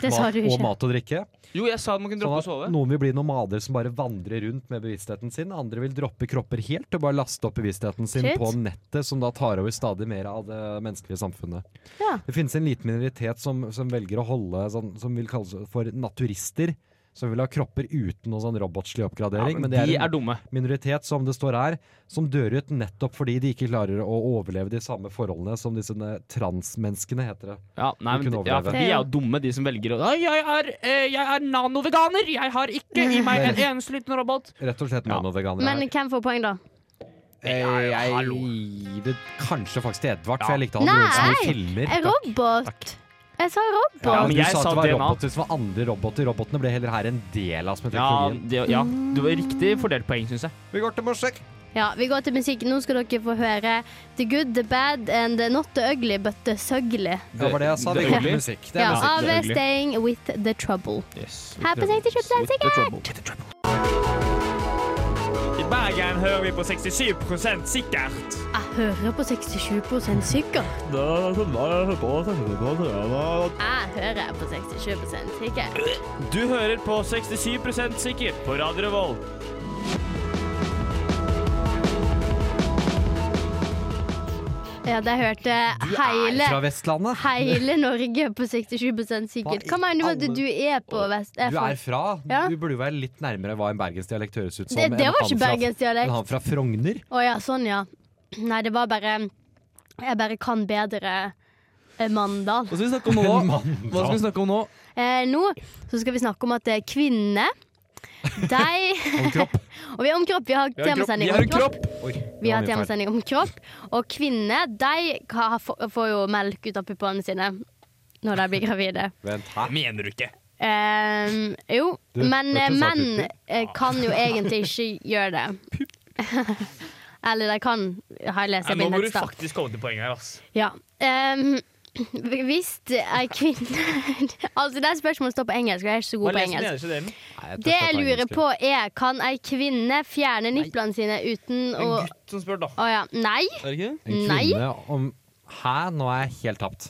C: Det sa
D: mat,
C: du
D: og
C: ikke.
D: mat og drikke.
B: Jo, jeg sa at man kunne
D: Sånn
B: droppe å sove.
D: at noen vil bli nomader som bare vandrer rundt med bevisstheten sin. Andre vil droppe kropper helt og bare laste opp bevisstheten sin
C: Shit.
D: på nettet, som da tar over stadig mer av det menneskelige samfunnet.
C: Ja.
D: Det finnes en liten minoritet som, som velger å holde sånn, som vil kalles for naturister. Som vil ha kropper uten noen sånn robotslig
B: Ja,
D: oppgradering.
B: men
D: men, det
B: de
D: er en
B: er dumme.
D: minoritet som det står her, som dør ut nettopp fordi de ikke klarer å overleve de samme forholdene som disse eh, transmenneskene, heter det.
B: Ja, nei,
D: De
B: men,
D: kunne
B: ja, for
D: overleve.
B: de er jo dumme, de som velger å «Nei, Jeg er, eh, jeg er nanoveganer! Jeg har ikke i meg en eneste liten robot!
D: Rett og slett
B: Ja.
D: nanoveganere.
C: Men hvem får poeng, da?
D: Eh, Jeg gir det kanskje faktisk til Edvard, for jeg likte han
C: Nei!
D: Nei! i filmer.
C: En Eh, robot. Jeg sa robot.
B: Ja, men
D: du
B: jeg
D: sa
B: sa
D: at det var
B: DNA.
D: roboter som var andre roboter. Robotene ble heller her en del av
B: Ja,
D: smetteknologien.
B: det, ja, du var riktig fordelt poeng, syns jeg.
D: Vi går til musikk.
C: Ja, vi går til musikk. Nå skal dere få høre The Good, The Bad and Not The Ugly But The Sugly.
D: Det var det jeg sa.
B: Det-
D: Vi går
B: det-
D: til musikk. Det er
C: Ja,
D: musikk.
C: av Staying With The Trouble. Her på 67 sikkert!
G: I Bergen hører vi på 67 sikkert.
C: Jeg hører på 67 sikkert. Jeg hører på 67 sikkert.
F: Du hører på 67 sikker på Radio Revolt.
C: Ja, der hørte
D: Nei, fra
C: hele
D: Vestlandet.
C: Hele Norge på 67 sikkert. Hva mener du med at du er på vest...
D: Du er fra.
C: Ja.
D: Du burde jo være litt nærmere hva en bergensdialekt høres ut som.
C: det, det
D: enn
C: var ikke
D: han fra- enn
C: bergensdialekt.
D: Han fra Frogner.
C: Å ja, sånn ja. Nei, det var bare Jeg bare kan bedre eh, Mandal.
B: Hva skal vi snakke om nå? Hva skal vi snakke om nå?
C: Eh, nå så skal vi snakke om at eh, kvinnene de
D: Om kropp.
C: Og vi er om kropp. Vi har temasending om kropp. Vi har temasending om kropp. Og kvinner de ka- få- får jo melk ut av puppene sine når de blir gravide.
D: Vent, hæ?
F: Mener du ikke?
C: Ehm, jo,
D: Du,
C: men
D: vet du hva sa
C: menn
D: pupper?
C: eh, kan jo egentlig ikke gjøre det. Eller de kan, har jeg lest
F: Nei,
C: på
F: nå må du
C: nettsted.
F: faktisk komme til poenget her, ass.
C: Ja. ehm, hvis ei kvinne Altså, det spørsmålet står på engelsk, og jeg er ikke så god altså. på engelsk.
D: Nei,
C: Det
D: jeg tør ikke
C: jeg
D: ta
C: lurer
D: engelsk.
C: på er, kan ei kvinne fjerne nipplene sine uten å
F: gutt som spør, da.
C: Å ja. Nei?
F: Er det ikke det?
D: En
C: Nei.
D: kvinne om Hæ? Nå er jeg helt tapt.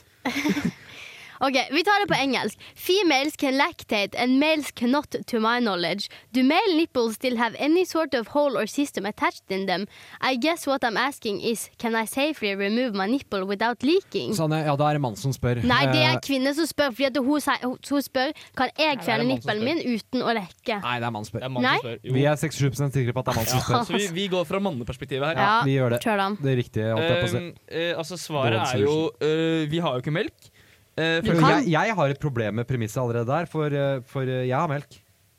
C: OK, vi tar det på engelsk. Females can lactate and males cannot to my knowledge. Do male nipples still have any sort of hole or system attached in them? I guess what I'm asking is, can I safely remove my nipple without leaking?
D: Sanne, ja, da er det mann som spør.
C: Mm. Nei, det
D: Eh,
C: er kvinner som spør, fordi at hun, sier- hun- hun spør kan jeg
F: det er
C: fjerne
F: mann som
C: nippelen min uten å lekke.
D: Nei, det er mann som spør.
F: Det er mannen
C: Nei.
F: som spør.
D: Vi er 67 sikre på at det er mann som spør.
F: Så vi, vi går fra manneperspektivet her.
D: Ja, vi gjør det.
C: Kjør den.
D: Det er riktig. Holdt jeg, på å si.
F: Um, eh, altså, svaret
D: Dårlig
F: er jo eh, Vi har jo ikke melk. Eh,
C: Du
F: for-
C: kan-
D: jeg, jeg har et problem med premisset allerede der, for, eh, for eh, jeg har melk.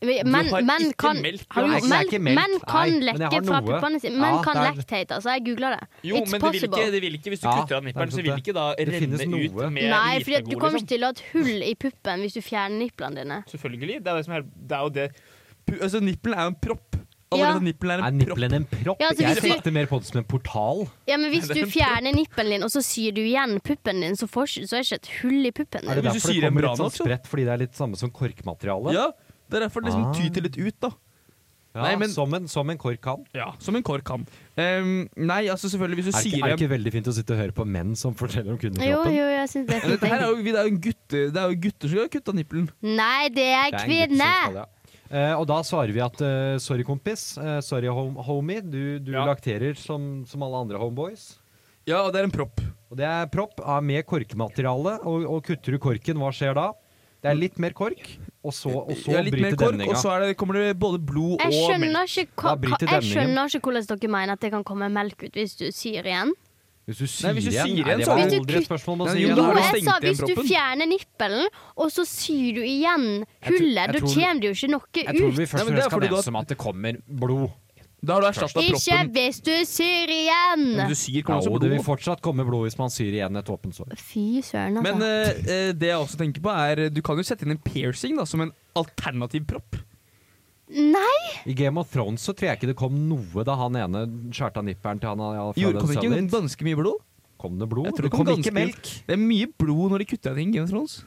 C: Men,
F: har
C: men
F: ikke
C: kan,
F: melk,
C: Hallo,
D: Jonas. Jeg er
C: men,
D: ikke melk.
C: men kan
D: Nei, men jeg
C: lekke
D: har
C: fra
D: noe.
C: puppene sine. Men
D: Ja,
C: kan
D: det er-
C: lactate, altså. Jeg googla det.
F: jo,
C: It's
F: men det vil,
C: possible.
F: ikke, det vil ikke Hvis du
D: Ja,
F: kutter av nipperen,
D: det er
F: så vil
D: sant
F: ikke da
D: Det finnes
F: renne ut
D: noe.
F: med liksom.
C: Nei, for du
F: liten
C: kommer
F: god,
C: ikke til å ha et hull i puppen hvis du fjerner nipplene dine.
F: Selvfølgelig. Det er, jo det som er, det er jo det Pu- Altså, nippelen er jo en propp. Allerede
C: Ja.
F: nippelen er
D: Er
F: en propp.
D: nippelen en propp?
C: Ja, altså,
D: jeg
C: hvis du-
D: tenkte mer på det som en portal.
C: Ja, men hvis
F: det
C: du
F: er en
C: fjerner nippelen din, og så syr du igjen puppen din, så, får, ikke- så er det ikke et hull i puppen
D: Er det
C: din.
D: derfor
F: Hvis du
D: det
F: sier en
D: kommer
F: bra
D: litt sånn
F: nok, så-
D: spredt, fordi det er litt samme som korkmateriale?
F: Ja, det er derfor det liksom
D: Ah.
F: tyter litt ut, da.
D: Ja,
F: Nei, men-
D: som, en, som en kork kan.
F: Ja, Som en kork kan. Um, nei, altså selvfølgelig, hvis du
D: Er det, ikke,
F: sier
D: er det ikke veldig fint å sitte og høre på menn som forteller om
C: Jo,
D: kundekroppen?
C: jo, jeg syns det er
F: Ja,
C: fint.
F: Dette her er
C: jeg.
F: jo, det er jo en gutte, det er jo gutter som har kutta nippelen.
C: Nei, det er
D: Det er en gutt
C: kvinne!
D: som skal det, ja. Eh, og da svarer vi at eh, sorry, kompis. eh, sorry, hom homie. Du, du
F: Ja.
D: lakterer som, som alle andre homeboys.
F: Ja, og det er en propp.
D: Og det er propp er med korkmateriale. Og, og kutter du korken, hva skjer da? Det er litt mer kork, og så, og så
I: Ja, litt mer
D: bryte
I: kork, og
D: demninga.
I: så er det, kommer det både blod
C: Jeg
I: og melk.
C: skjønner, ikke, hva,
D: Da
C: hva-
D: bryter
C: jeg
D: demningen.
C: skjønner ikke hvordan dere mener at det kan komme melk ut hvis du syr igjen.
D: Hvis du
I: Nei,
D: sier
I: hvis du
D: igjen,
I: sier
D: nei,
I: igjen,
D: det
I: så
D: var
C: er det-
D: aldri et spørsmål om å
I: Nei,
D: si
I: jo,
D: igjen.
I: da
C: Jo,
I: har du
C: jeg
I: stengt
C: sa
I: igjen
C: hvis du
I: proppen.
C: fjerner nippelen, og så syr du igjen
D: Jeg tror-
C: hullet,
D: jeg
C: da
D: tror-
C: kommer det jo ikke noe
D: Jeg tror
C: ut.
D: vi først
I: Nei,
D: og
I: men det er
D: fremst kan
I: fordi du
D: enes om at det kommer blod.
I: Da har du erstatta
C: Ikke
I: proppen.
C: hvis du syr igjen!
B: Men du sier
D: Ja,
B: kommer også
D: og det vil
B: blod.
D: fortsatt komme blod hvis man syr igjen et åpent sår.
C: Fy søren,
I: Men
C: altså.
I: eh, eh, det jeg også tenker på, er Du kan jo sette inn en piercing da som en alternativ propp.
C: Nei!
D: I Game of Thrones så tror jeg ikke det kom noe da han ene skjærte av nipperen til han ja, fra
I: Gjorde
D: den
I: kom det ikke
D: sønnen din.
I: ganske mye blod?
D: Kom det blod?
I: Jeg tror
D: det
I: det
D: kom
I: kom
D: ikke
I: ganske-
D: melk.
I: Det er mye blod når de kutter av ting. Game of Thrones.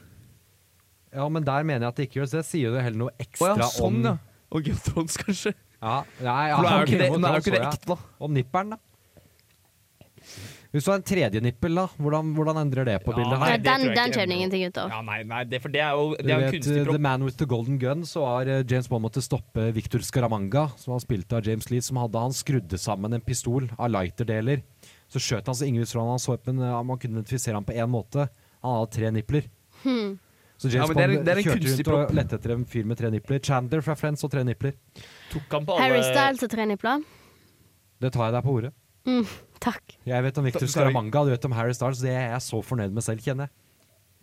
D: Ja, men der mener jeg at det ikke gjør det. Det sier jo heller noe
I: Å
D: ekstra
I: ja, sånn, ja.
D: om
I: Og Game of Thrones, kanskje.
D: Ja, nei, ja,
I: For nå er jo
D: Game
I: ikke det, nå
D: of
I: er jo
D: Thrones
I: ikke det
D: så jeg.
I: ekte, da.
D: Om nipperen, da. Hvis du har en tredje nippel, da, hvordan, hvordan endrer det på
F: Ja,
D: bildet
F: nei,
D: her?
C: Ja,
F: det
C: den den
F: tror jeg ikke
C: kommer det
F: endrer
C: ingenting ut av.
F: Ja, nei, nei, det, for det er jo
D: Du
F: det er en
D: vet,
I: eh,
F: kunstig
D: The
F: propp.
D: Man With The Golden Gun, så var eh, James Bond måtte stoppe Victor Scaramanga, som han spilte av James Lee, som hadde han skrudde sammen en pistol av lighterdeler. Så skjøt han så ingen ut fra han, han så på en, eh, man kunne identifisere ham på én måte. Han hadde tre nipler. Så
I: Ja,
D: James
I: men det er-
D: Bond
I: det er en
D: kjørte
I: kunstig
D: rundt og lette etter en fyr med tre nipler. Chandler fra Friends og tre nipler.
F: Tok han på alle
I: eh,
C: Harry Styles og tre nipler.
D: Det tar jeg deg på ordet.
C: Mm, takk.
D: Jeg vet om Victor
I: Da- da er vi-
D: Scaramanga, du vet om Harry Stars. Det er jeg så fornøyd med selv, kjenner jeg.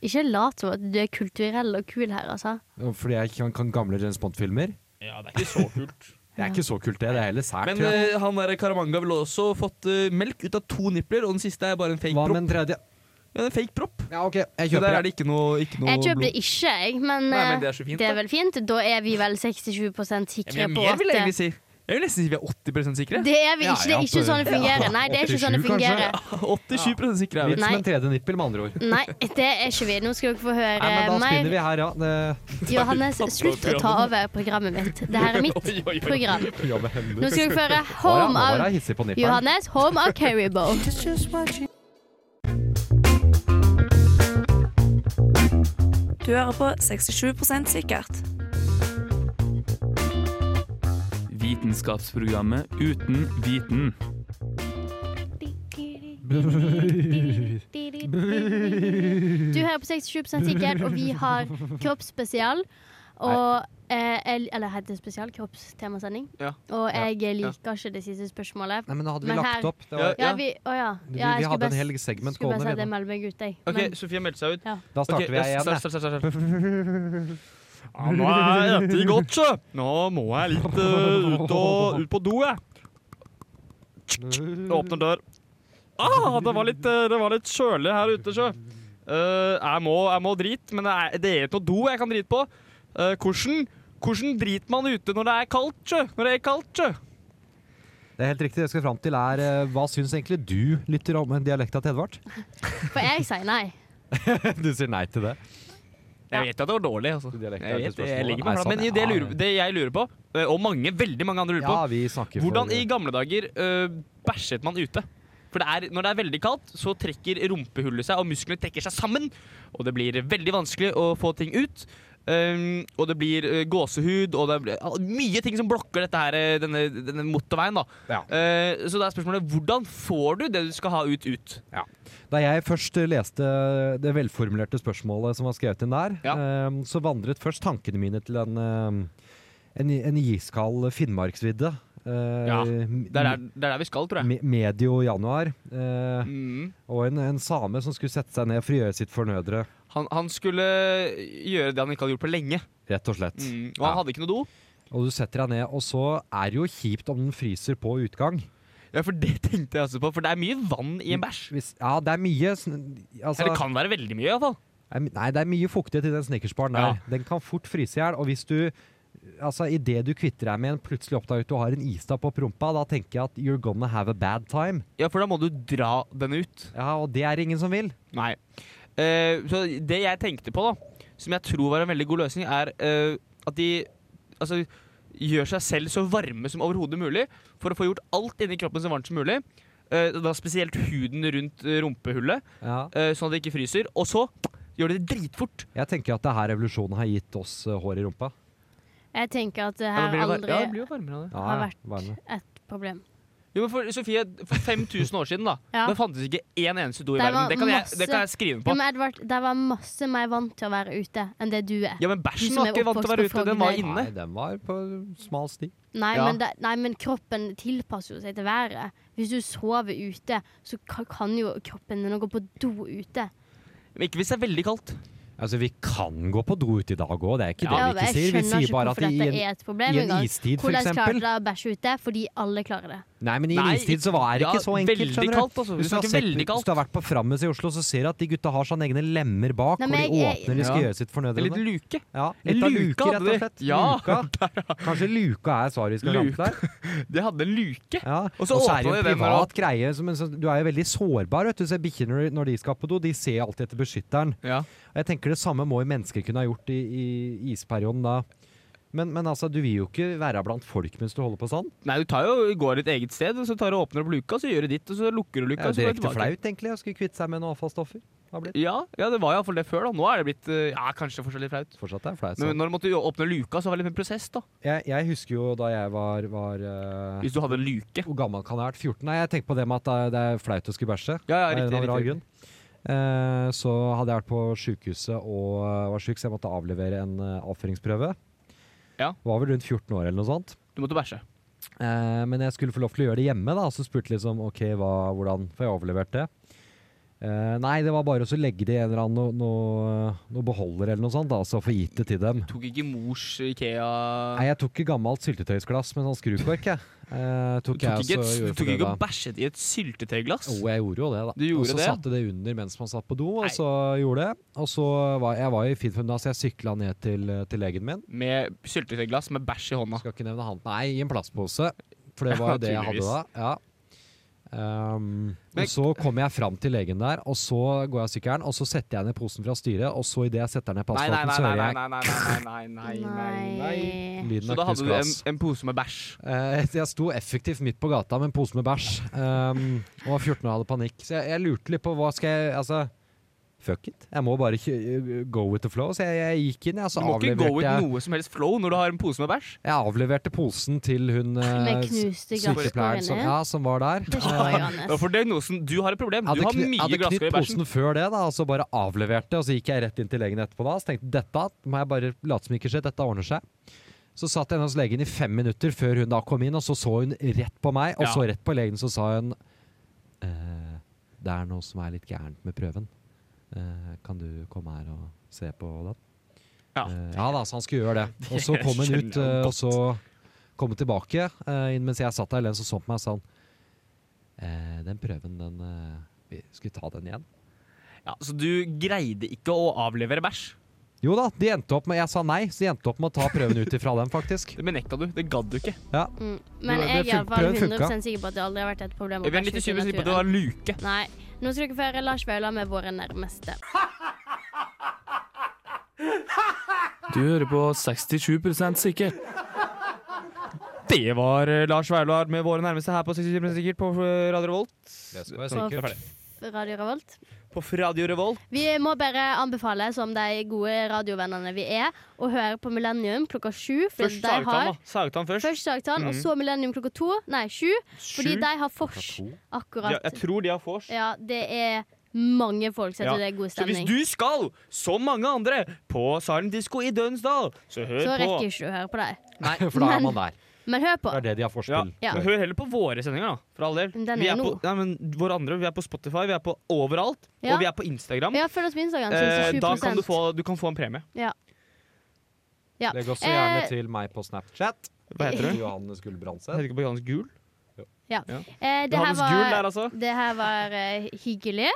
C: Ikke lat som at du er kulturell og kul her, altså.
D: Fordi jeg kan, kan gamle James Bond-filmer.
F: Ja, det er ikke så kult.
D: Det er ikke så kult, det. Det er heller sært.
I: Men
D: tror jeg.
I: eh, han der Karamanga ville også fått eh, melk ut av to nipler, og den siste er bare
B: eh,
I: en fake
D: Hva med
I: propp.
D: en tredje?
I: Ja, det er en fake propp.
D: Ja, OK, jeg
I: Så
D: kjøper
I: der
D: det.
I: er det ikke noe, ikke noe
C: Jeg kjøper det
I: blod.
C: ikke, jeg,
I: Nei,
C: men,
I: men
C: eh,
I: det er så fint,
C: det er
I: da.
C: vel fint. Da er vi vel 67 sikre
I: Jeg,
C: på
I: jeg vil
C: at
I: egentlig si Jeg vil nesten si vi er 80 sikre.
C: Det er vi
D: Ja,
C: ikke. Det
D: ja,
C: er ikke sånn det fungerer.
D: ja,
C: Nei, det er ikke sånn det
D: 87 kanskje.
C: fungerer.
I: 87 sikre er vi.
D: Litt
C: Nei. Eh,
D: som en tredje nippel, med andre ord.
C: Nei, det er ikke vi. Nå skal dere få høre
D: Nei, men da spinner
C: mer.
D: vi her, ja. Det
C: Johannes, slutt å ta over programmet mitt. Det her er mitt program.
D: jobber hender.
C: Nå skal dere få høre
D: Nå
C: Home
D: var
C: of
D: jeg hissig på nipperen.
C: Johannes, Home of Caribou.
A: Du hører på 67 sikkert.
F: Vitenskapsprogrammet uten viten.
C: Du hører på 67 sikkert, og vi har Kroppsspesial. Og eh, jeg- Eller heter det spesial? Kroppstemasending.
B: Ja.
C: Og jeg liker ikke det siste spørsmålet.
D: Nei, men da hadde vi
C: Men her-
D: lagt opp. Det var,
C: Ja, vi Å ja.
D: vi,
C: ja jeg
D: vi
C: skulle
D: hadde en
C: best-
D: hel segment
C: skulle bare si
D: gående.
C: at jeg
D: vi,
C: melder meg ut, jeg.
B: OK,
C: Men-
B: Sofie meldte seg ut.
D: da. Da starter
B: Ok,
D: vi
B: ja,
D: igjen.
B: start,
D: da.
B: start, start, start, start. Ja, nå er jeg etter godt, sjø. Nå må jeg litt eh, ut, og, ut på do, jeg. Jeg Åpner dør. Ah, det var litt, eh, det var litt kjølig her ute, sjø. Eh, jeg, må, jeg må drit, men det er, det er ikke noe do jeg kan drite på. Eh, hvordan, hvordan driter man ute når det er kaldt, sjø? Når det er kaldt, sjø?
D: Det er helt riktig. Det jeg skal fram til, er eh, hva syns egentlig du lytter om dialekta til Edvard?
C: For jeg sier nei.
D: Du sier nei til det.
C: Ja.
B: vet at det var dårlig, altså. Jeg
D: Dialekt er ikke
B: vet, det,
D: spørsmålet.
B: jeg ligger
D: Nei,
B: meg flat.
D: sant,
B: Men
D: ja.
B: det jeg lurer, det jeg lurer på, eh, og mange, veldig mange andre lurer på,
D: Ja, vi snakker
B: Hvordan
D: for
B: i gamle dager øh, bæsjet man ute? For det er, når det er veldig kaldt, så trekker rumpehullet seg, og musklene trekker seg sammen. Og det blir veldig vanskelig å få ting ut. Ehm, og det blir øh, gåsehud, og det blir ja, mye ting som blokker dette her, øh, denne, denne motorveien. da.
D: Ja.
B: Eh, så da er spørsmålet hvordan får du det du skal ha ut, ut?
D: Da jeg først leste det velformulerte spørsmålet som var skrevet inn der, eh, så vandret først tankene mine til en, eh, en, en iskald Finnmarksvidde. eh,
B: Ja, Det er der, det er der vi skal, tror jeg.
D: me- Medio januar. eh,
B: Mm.
D: og en, en same som skulle sette seg ned for å gjøre sitt fornødre,
B: Han, han skulle gjøre det han ikke hadde gjort på lenge.
D: rett og slett.
B: Mm. Og han
D: Ja.
B: hadde ikke noe do.
D: Og du setter deg ned, og så er det jo kjipt om den fryser på utgang.
B: Ja, For det tenkte jeg også på, for det er mye vann i en bæsj.
D: Hvis, ja, det er mye sn- altså,
B: Eller Mm. det kan være veldig mye, iallfall.
D: Nei, men- Nei, det er mye fuktighet i den snickersbaren der. Den kan fort fryse i hjel. Og hvis du Altså, Idet du kvitter deg med en, plutselig oppdager at du har en istapp opp rumpa, da tenker jeg at you're gonna have a bad time.
B: Ja, for da må du dra den ut.
D: Ja, Og det er ingen som vil.
B: Nei. Eh, så det jeg tenkte på, da, som jeg tror var en veldig god løsning, er eh, at de altså, gjør seg selv så varme som overhodet mulig for å få gjort alt inni kroppen så varmt som mulig. Eh, da spesielt huden rundt eh, rumpehullet,
D: Ja.
B: eh, sånn at det ikke fryser. Og så gjør de det dritfort.
D: Jeg tenker at det er her revolusjonen har gitt oss eh, hår i rumpa.
C: Jeg tenker at det
B: Ja, da blir
C: her
B: det var-
C: aldri
B: ja, det blir jo varmere av det.
D: Ja,
C: har vært
D: varme.
C: et problem.
B: Jo, men for Sofie, for 5000 år siden da
C: Ja.
B: Da fantes ikke én eneste do i
C: Det
B: verden.
C: var
B: Det kan, jeg,
C: masse-
B: det kan jeg skrive
C: Ja,
B: på.
C: men Edvard, det var masse mer vant til å være ute enn det du er.
B: Ja, men bæsjen
C: som
B: var
C: er
B: ikke vant til å være
C: oppvokst på
B: ute. Den var
C: Frogner.
B: inne.
D: Nei, den var på smal sti.
C: Nei,
B: Ja.
C: men det, nei, men kroppen tilpasser jo seg til været. Hvis du sover ute, så ka- kan jo kroppen din gå på do ute.
B: Men ikke hvis det er veldig kaldt.
D: Altså, vi kan gå på do ute i dag òg, det er ikke
C: Ja,
D: det vi
C: jeg
D: ikke sier. Vi
C: skjønner
D: sier bare at
C: hvorfor
D: i
C: dette
D: en,
C: er et problem
D: i en
C: engang.
D: istid, for
C: Hvordan klarte
D: eksempel
C: de å bæsje ute? Fordi alle klarer det.
D: Nei, men i en
B: Nei,
D: istid så var det
B: ja,
D: ikke så enkelt,
B: Veldig
D: skjønner du.
B: kaldt, altså.
D: Hvis
B: Vi
D: du, har
B: snakker
D: sett,
B: veldig
D: hvis
B: kaldt.
D: du har vært på Frammes i Oslo, så ser du at de gutta har sånne egne lemmer bak,
C: Nei,
D: og de
C: men jeg-
D: åpner når de skal
B: Ja.
D: gjøre sitt
B: En
D: fornødne.
B: liten luke.
D: Ja,
B: En
D: litt av
B: luke
D: luke,
B: hadde
D: rett
B: de.
D: og slett.
B: Ja.
D: Luka. Kanskje luka er svaret vi skal
B: Luka.
D: fram til der.
B: De hadde en luke.
D: Ja.
B: Og så
D: er det jo
B: åpner
D: en
B: vi den med
D: privat greie. Som, en sånn- du er jo veldig sårbar. Vet du. du ser bikkjer når, når de skal på do, de ser alltid etter beskytteren.
B: Ja.
D: Og jeg tenker det samme må jo mennesker kunne ha gjort i, i isperioden da. Men, men altså, du vil jo ikke være blant folk mens du holder på sånn.
B: Nei, du tar jo, går ditt eget sted, og så tar du og åpner opp luka, så gjør du ditt, og så lukker du
D: Det
B: luka.
D: er
B: og
D: jo
B: så går du
D: direkte
B: tilbake.
D: flaut, egentlig, å skulle kvitte seg med noen avfallsstoffer. Det har blitt.
B: Ja, ja, det var iallfall det før. da Nå er det blitt eh, Ja, kanskje fortsatt litt flaut.
D: Fortsatt er det flaut.
B: Men
D: sånn.
B: når du måtte jo åpne luka, så var det litt en prosess, da.
D: Jeg, jeg husker jo da jeg var, var eh,
B: Hvis du hadde en luke.
D: Hvor gammel kan jeg ha vært? 14? Nei, jeg tenkte på det med at det er- det er flaut å skulle bæsje.
B: Ja, ja,
D: Av en
B: riktig.
D: eller annen
B: riktig.
D: grunn. Eh, så hadde jeg vært på sykehuset og eh, var syk, så jeg måtte avlevere en eh, avføringsprøve.
B: Ja.
D: Var vel rundt 14 år eller noe sånt.
B: Du måtte bæsje.
D: Eh, men jeg skulle få lov til å gjøre det hjemme, da. Så spurte jeg liksom OK, hva, hvordan får jeg overlevert det? Eh, nei, det var bare å så legge det i en eller annen noe, noe, noe beholder eller noe sånt, da, så få gitt det til dem.
B: Tok ikke mors Ikea
D: Nei, jeg tok ikke gammelt syltetøysglass med sånn skrukork, jeg. Eh,
B: Du
D: tok
B: tok
D: jeg
B: ikke,
D: også,
B: et, du
D: gjorde
B: tok
D: for det
B: ikke
D: da.
B: og bæsjet i et syltetøyglass?
D: Jo, jeg gjorde jo det, da.
B: Du gjorde
D: og så
B: det, ja.
D: satte det under mens man satt på do, og
B: Nei.
D: så gjorde det. Og så var jeg var i fint humør, da, så jeg sykla ned til, til legen min.
B: Med syltetøyglass med bæsj i hånda.
D: Skal ikke nevne han Nei, i en plastpose. For det var
B: Ja,
D: jo det jeg hadde da.
B: tydeligvis.
D: Ja. Ehm,
B: Men-
D: og så kommer jeg fram til legen der, og så går jeg av sykkelen, og så setter jeg ned posen fra styret, og så idet jeg setter den ned på
B: Nei, nei,
D: asfalten,
B: nei,
D: så
B: nei,
D: hører
B: nei,
D: jeg
B: nei, nei, nei, nei, nei, nei, nei.
D: lyden
B: Så
D: av
B: da
D: knust
B: hadde du en,
D: glass.
B: en pose med bæsj.
D: Eh, jeg sto effektivt midt på gata med en pose med bæsj, ehm, og var 14 år og hadde panikk. Så jeg, jeg lurte litt på hva skal jeg Altså, fuck it. Jeg må bare kjø- eh, go with the flow. Så jeg, jeg gikk inn, jeg, og
B: Du
D: så
B: må ikke gå
D: avleverte
B: ut
D: jeg,
B: noe som helst flow når du har en pose med bæsj.
D: jeg avleverte posen til hun eh,
C: Med knuste glasskår
D: sykepleieren som,
C: inni.
D: ja, som var der.
C: Det slår jo an.
B: Det var for diagnosen. Du har et problem. Du
D: hadde,
B: har
D: kny-
B: mye
D: hadde knytt
B: glasskår i bæsjen.
D: posen før det, da, og så bare avleverte, og så gikk jeg rett inn til legen etterpå. da, Så tenkte jeg dette må jeg bare late som ikke skjer, dette ordner seg. Så satt jeg hos legen i fem minutter før hun da kom inn, og så så hun rett på meg, og
B: Ja.
D: så rett på legen, så sa hun eh, Det er noe som er litt gærent med prøven. Eh, kan du komme her og se på den?
B: Ja.
D: Eh, ja da, så han skulle gjøre det. Og så
B: Det
D: kom hun
B: skjønner
D: ut,
B: jeg
D: eh,
B: godt.
D: og så kom hun tilbake eh, inn mens jeg satt der, Len så så på meg og sa han eh, Den prøven, den eh, vi Skal vi ta den igjen?
B: Ja, så du greide ikke å avlevere bæsj.
D: Jo da, de endte opp med Jeg sa nei, så de endte opp med å ta prøven ut ifra den, faktisk.
B: Det benekta du. Det gadd du ikke.
C: Mm. Men
D: Det-
C: jeg er
D: det fun-
C: iallfall
D: prøven funka.
C: 100 sikker på at det aldri har vært et problem. å
B: Vi er
C: bæsje
B: litt
C: ute i
B: kyniske på at du har
C: naturen.
B: luke.
C: Nei. Nå skal dere få høre Lars Vaular med våre nærmeste.
F: Du hører på 67 sikkert.
B: Det var eh, Lars Vaular med våre nærmeste her på 60 sikkert på eh, Radio Revolt.
C: På f- Radio Revolt.
B: På Radio Revolt.
C: Vi må bare anbefale, som de gode radiovennene vi er, å høre på Millennium klokka sju. For
B: Først
C: de har
B: Sagtan, da. Sagtan først.
C: Først Sagtan, og
B: Mhm.
C: så Millennium klokka to. Nei, sju. Fordi
B: Sju.
C: de har vors
B: Ja,
C: akkurat.
B: jeg tror de har vors.
C: Ja, det er mange folk, så jeg
B: Ja.
C: tror det er god
B: Så hvis
C: stemning.
B: du skal, som mange andre, på Silent Disco i Dønsdal, så hør
C: Så
B: på
C: rekker ikke du å høre på det.
D: Nei, for da er man der.
C: Men hør på.
D: Det er det de har
B: Ja.
D: forspill.
C: Ja.
B: Men hør heller på våre sendinger, da. For all del.
C: Men den
B: Vi
C: er
B: er på,
C: nå.
B: nei, men våre andre, vi er på Spotify, vi er på overalt.
C: Ja.
B: Og vi er på Instagram.
C: Ja, følg oss på Instagram.
B: Eh,
C: 67
B: da kan du, få, du kan få en premie.
C: Ja.
D: Legg også
C: Eh,
D: gjerne til meg på Snapchat.
B: Hva heter du?
D: Johannes Gullbrandsen.
B: Heter ikke på Johannes Gul?
C: Eh, det her
B: Johannes Gul der,
C: var,
B: altså.
C: det her var eh, hyggelig.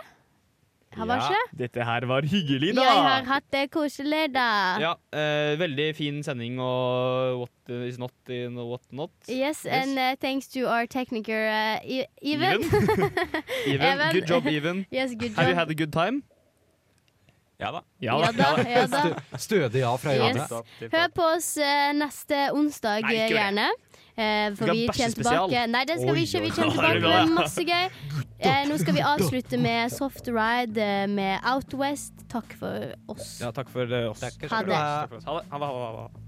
C: Her var ikke?
B: Dette her var hyggelig, da.
C: Jeg har hatt det koselig, da.
B: Ja, eh, veldig fin sending og what is not in og what not.
C: Yes, and eh, thanks to our technical uh, Even.
B: Even. Even.
C: Even.
B: Good job, Even.
C: Yes, good
B: Have you
C: job.
B: had a good time?
H: Ja da.
B: Ja
C: Ja da, ja da.
D: Stødig ja fra
C: Yes.
D: Johannes.
C: Hør på oss eh, neste onsdag,
B: Nei, ikke gjør det.
C: gjerne. Eh,
B: Vi
C: for
B: skal
C: vi
B: ha
C: kommer
B: bæsjespesial.
C: tilbake Nei, det skal vi ikke. Vi kommer
B: Oi, oi, oi.
C: tilbake med masse gøy. Eh, nå skal vi avslutte med Soft Ride eh, med Out West. Takk for oss.
B: Ja, takk for eh, oss.
C: Ha det.
B: Ha det. Ha det. Ha det. Ha det.